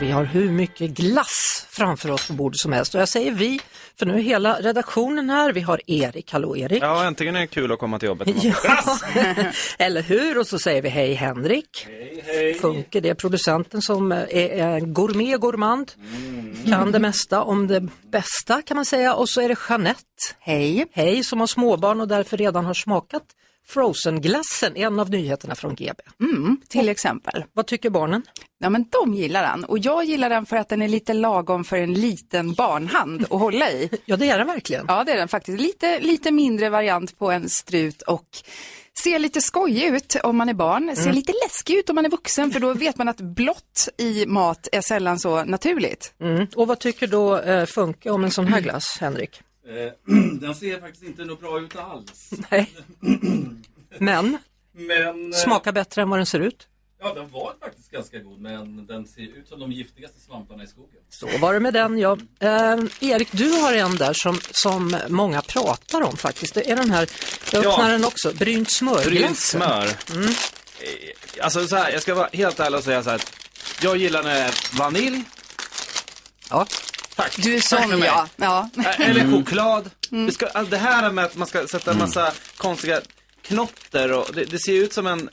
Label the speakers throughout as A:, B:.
A: Vi har hur mycket glass framför oss på bordet som helst och jag säger vi, för nu är hela redaktionen här. Vi har Erik, hallå Erik.
B: Ja, äntligen är det kul att komma till jobbet.
A: Ja, eller hur? Och så säger vi hej Henrik. Funker det? Producenten som är är gourmet, gourmand, kan det mesta om det bästa kan man säga. Och så är det Jeanette. Hej. Hej, som har småbarn och därför redan har smakat Frozen-glassen, en av nyheterna från GB.
C: Mm, till exempel.
A: Vad tycker barnen?
C: Ja, men de gillar den. Och jag gillar den för att den är lite lagom för en liten barnhand att hålla i.
A: Ja, det är den verkligen.
C: Ja, det är den faktiskt. Lite, lite mindre variant på en strut och ser lite skojig ut om man är barn.
A: Mm.
C: Ser lite läskig ut om man är vuxen för då vet man att blått i mat är sällan så naturligt.
A: Mm. Och vad tycker då eh, Funke om en sån här glass, Henrik?
D: Eh, Den ser faktiskt inte något bra ut alls.
A: Nej. Men,
D: Men... eh,
A: smakar bättre än vad den ser ut.
D: Ja, den var faktiskt ganska god, men den ser ut som de giftigaste svamparna i skogen.
A: Så var det med den ja. Eh, Erik, du har en där som, som många pratar om faktiskt. Det är den här, jag
B: Ja.
A: öppnar den också, brynt smör.
B: Brynt smör.
C: Mm.
B: Eh, Alltså så här, jag ska vara helt ärlig och säga så här. att Jag gillar när det är vanilj,
A: Ja.
B: tack.
C: Du Mm. är
B: Tack för
C: sån
B: mig.
C: ja. ja.
B: Eh, Eller choklad. Vi ska, all- det här med att man ska sätta en massa
C: Mm.
B: konstiga knotter och det, det ser ut som en...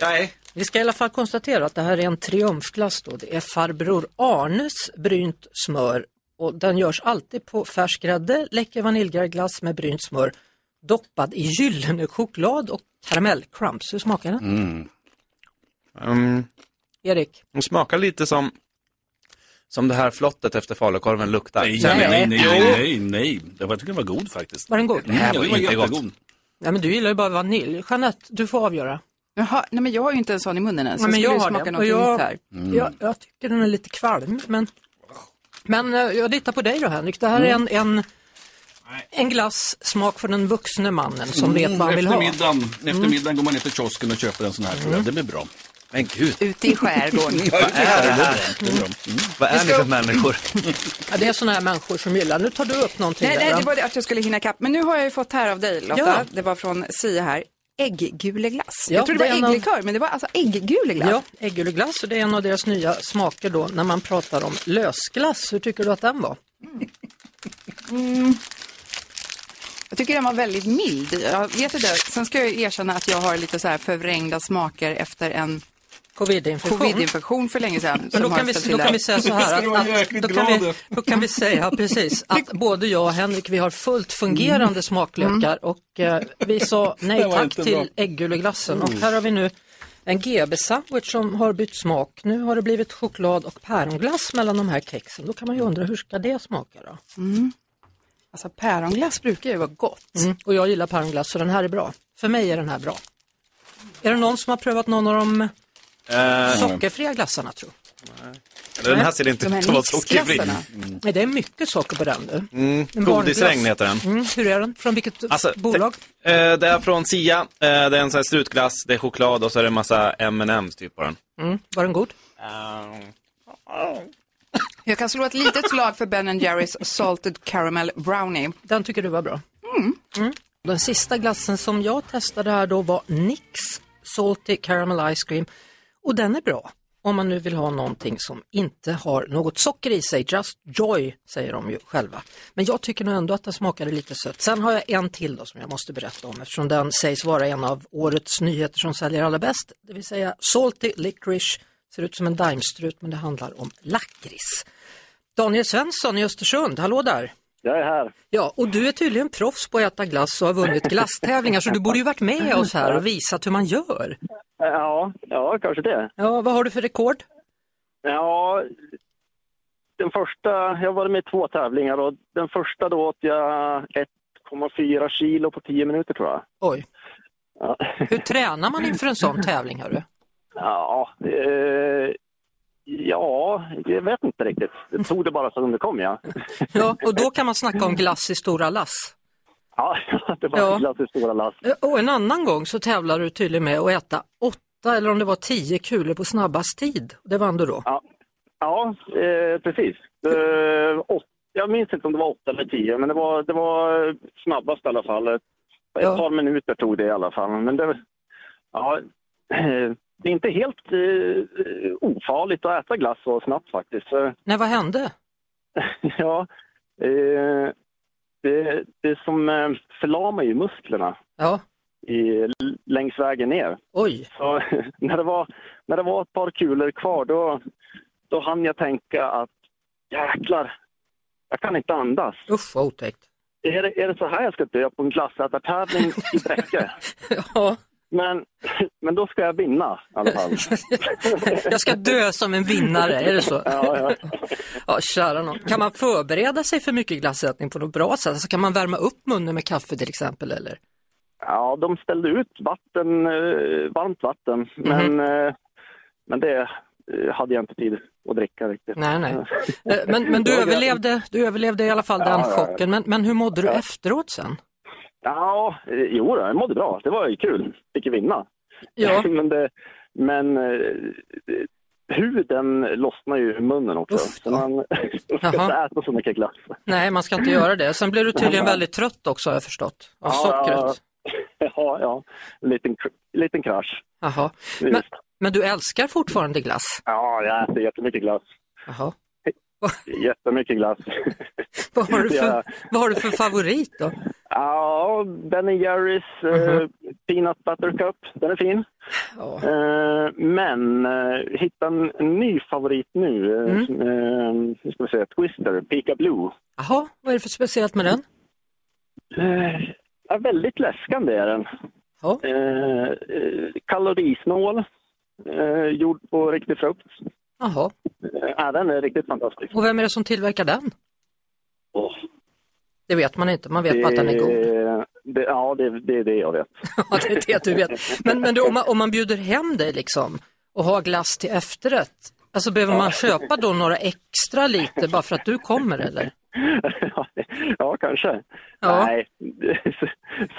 B: Nej,
A: Vi ska i alla fall konstatera att det här är en triumfglass då. Det är farbror Arnes brynt smör och den görs alltid på färsk grädde, läcker vaniljglass med brynt smör doppad i gyllene choklad och karamellcrumbs. Hur smakar den?
B: Mm. um,
A: Erik?
B: de smakar lite som, som det här flottet efter falukorven luktar.
E: Nej,
B: Känner
E: nej,
B: jag.
E: nej, nej, nej, nej. Jag tycker den var god faktiskt.
A: Var den god?
E: Mm,
B: var
E: den var
B: inte gott.
E: jättegod.
A: Nej men du gillar ju bara vanilj. Jeanette, du får avgöra.
C: Jaha, nej men jag har ju inte en sån i munnen än så
A: Nej, men
C: skulle
A: jag
C: du
A: har
C: smaka
A: den. Och
C: någonting
A: jag- Mm.
C: nytt här.
A: Jag, jag tycker den är lite kvalm, men, men eh, jag litar på dig då Henrik. Det här är en, en, en glass smak för den vuxne mannen som vet vad han vill ha.
E: Mm, Eftermiddagen, eftermiddagen går man ner till kiosken och köper en sån här tror jag. Det blir bra.
B: Men gud,
C: Ute i skärgården.
E: Vad är det här? Det är bra. Mm.
B: vad är ni för människor?
A: Ja, det är sådana här människor som gillar. Nu tar du upp någonting
C: Nej,
A: där.
C: nej,
A: va?
C: det var det att jag skulle hinna ikapp. Men nu har jag ju fått här av dig Lotta,
A: Ja.
C: det var från Sia här, ägguleglass.
A: Ja,
C: jag trodde
A: det är
C: det
A: en
C: var
A: av-
C: ägglikör, men det var alltså ägguleglass.
A: Ja, ägguleglass och det är en av deras nya smaker då när man pratar om lösglass. Hur tycker du att den var?
C: Jag tycker den var väldigt mild. Jag vet inte, sen ska jag ju erkänna att jag har lite så här förvrängda smaker efter en
A: Covid-infektion.
C: covidinfektion för länge sedan.
A: Men då
C: som
A: kan,
C: har
A: vi,
C: ställt till
A: då
C: det.
A: kan vi säga så här
E: ska du vara
A: att, att
E: jäkligt
A: då, kan
E: glad
A: vi,
E: över.
A: då kan vi säga precis att både jag och Henrik vi har fullt fungerande smaklökar och eh, vi sa nej
E: Mm. Det var
A: tack
E: inte bra. Mm.
A: till ägguleglassen och här har vi nu en GB-sandwich som har bytt smak. Nu har det blivit choklad och päronglass mellan de här kexen. Då kan man ju undra hur ska det smaka då?
C: Alltså päronglass brukar ju vara gott.
A: Mm. Och jag gillar päronglass så den här är bra. För mig är den här bra. Är det någon som har prövat någon av de sockerfria glassarna tror
B: Den här ser inte
C: De
B: ut
C: här
B: att vara sockerfri.
C: mixglassarna.
A: jag? Nej, det är mycket socker på den nu. En
B: Godisregn
A: barnglass.
B: heter den.
A: Mm, hur är den? Från vilket
B: Alltså,
A: bolag?
B: Det, eh, det är från Sia, eh, det är en sån här strutglass, det är choklad och så är det en massa M&M's typ på den.
A: Mm, var den god?
C: Jag kan slå ett litet slag för Ben Jerrys Salted Caramel Brownie.
A: Den tycker du var bra? Mm. Den sista glassen som jag testade här då var Nix Salty Caramel Ice Cream och den är bra om man nu vill ha någonting som inte har något socker i sig. Just Joy säger de ju själva. Men jag tycker nog ändå att den smakade lite sött. Sen har jag en till då som jag måste berätta om eftersom den sägs vara en av årets nyheter som säljer allra bäst. Det vill säga Salty Licorice, ser ut som en daimstrut men det handlar om lakrits. Daniel Svensson i Östersund, hallå där!
F: Jag är här.
A: Ja, och du är tydligen proffs på att äta glass och har vunnit glasstävlingar så du borde ju varit med oss här och visat hur man gör.
F: Ja, ja kanske det.
A: Ja, vad har du för rekord?
F: Ja, den första, jag var med i två tävlingar och den första då åt jag 1,4 kilo på 10 minuter tror jag.
A: Oj,
F: Ja,
A: hur tränar man inför en sån tävling hörru?
F: ja, eh, ja jag vet inte riktigt. Det tog det bara som det kom ja.
A: Ja, och då kan man snacka om glass i stora lass.
F: Ja, det var
A: Ja.
F: ja. glatt i stora lass.
A: Eh, Och en annan gång så tävlar du tydligen med att äta åtta eller om det var tio kulor på snabbast tid. Det vann du då.
F: Ja, eh, precis. Eh, åt, jag minns inte om det var åtta eller tio, men det var, det var snabbast i alla fall. Ett
C: Ja.
F: par minuter tog det i alla fall. Men det, ja, eh, det är inte helt eh, ofarligt att äta glass så snabbt faktiskt. Så,
A: Nej, vad hände?
F: ja, eh, det, det som eh, förlamar ju musklerna
A: Ja,
F: i, längs vägen ner.
A: oj.
F: Så när det var, när det var ett par kulor kvar då, då hann jag tänka att jäklar, jag kan inte andas.
A: Usch vad otäckt.
F: Är det, är det så här jag ska dö på en glassätartävling i Bräcke?
A: Ja,
F: Men, men då ska jag vinna i alla fall.
A: jag ska dö som en vinnare, är det så?
F: Ja, ja.
A: Ja, kära nån. Kan man förbereda sig för mycket glassätning på något bra sätt? Alltså, kan man värma upp munnen med kaffe till exempel? Eller?
F: ja, de ställde ut vatten, eh, varmt vatten, men, eh, men det eh, hade jag inte tid att dricka riktigt.
A: Nej, nej. Eh, Men, men du,
F: Ja, jag-
A: överlevde, du överlevde i alla fall den
F: Ja, ja, ja.
A: chocken. Men, men hur mådde du efteråt sen?
F: Ja, eh, jo då, jag mådde bra. Det var ju kul. Fick ju vinna.
A: Ja,
F: men det, men eh, huden lossnar ju i munnen också.
A: Uff,
F: så man man ska inte
A: Jaha.
F: äta så mycket glass.
A: nej man ska inte göra det. Sen blev du tydligen väldigt trött också har jag förstått. Av
F: Ja, ja, ja.
A: sockret.
F: ja, ja. En liten, kr- liten krasch.
A: Jaha.
F: Just.
A: Men, men du älskar fortfarande glass?
F: Ja, jag äter jättemycket glass.
A: Jaha.
F: Jättemycket glass.
A: Vad har, du
F: Ja.
A: för, vad har du för favorit då?
F: ja, Ben Jerrys eh,
A: Mhm.
F: Peanut Butter Cup, den är fin.
A: Ja.
F: Eh, men eh, hitta en, en ny favorit nu. eh,
A: Mm.
F: som, eh, nu ska vi se, Twister, Pika Blue.
A: Jaha, vad är det för speciellt med den?
F: Eh, ja, väldigt läskande är den.
A: Ja.
F: Eh, eh, kalorisnål, eh, gjord på riktig frukt.
A: Jaha,
F: Eh, ja, den är riktigt fantastisk.
A: och vem är det som tillverkar den?
F: Åh,
A: Det vet man inte, man vet bara att den är god.
F: Eh, det, ja, det, det är det jag vet.
A: Ja, det är det du vet. Men, men du, om, man, om man bjuder hem dig liksom och har glass till efterrätt, alltså behöver man köpa då några extra lite bara för att du kommer eller?
F: ja, kanske.
A: Ja.
F: Nej,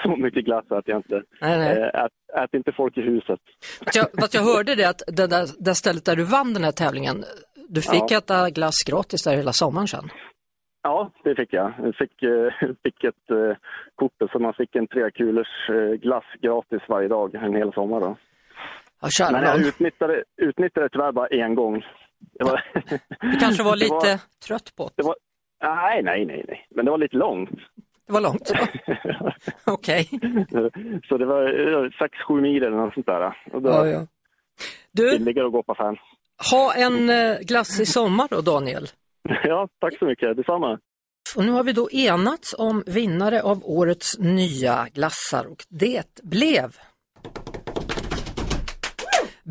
F: så mycket glass att jag inte.
A: Nej, nej.
F: Eh, Ät, ät inte folk i huset.
A: Fast jag, fast jag hörde det att det där, det stället där du vann den här tävlingen, du fick
F: Ja.
A: äta glass gratis där hela sommaren sen.
F: Ja, det fick jag. Jag fick, eh, fick ett eh, kort så man fick en trekulors eh, glass gratis varje dag en hel sommar. Då.
A: Ja, kära
F: Men jag
A: nån.
F: utnyttjade, utnyttjade tyvärr bara en gång. Det var,
A: Du kanske var
F: det var-
A: lite trött på det.
F: det var, nej, nej, nej, nej, men det var lite långt.
A: Det var långt. Okej.
F: så det var 6-7 mil eller något sånt där. Och då,
A: Ja, ja. Du,
F: Billigare att gå på affären.
A: ha en eh, glassig sommar då Daniel.
F: Ja, tack så mycket. Detsamma.
A: Och nu har vi då enats om vinnare av årets nya glassar och det blev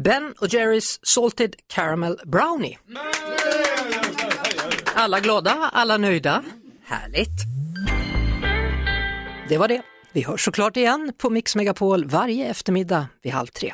A: Ben och Jerrys Salted Caramel Brownie. Alla glada, alla nöjda. Härligt. Det var det. Vi hörs såklart igen på Mix Megapol varje eftermiddag vid halv tre.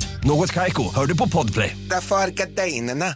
G: Något Kaiko, hör du på Podplay.
H: Därför arkadeinerna.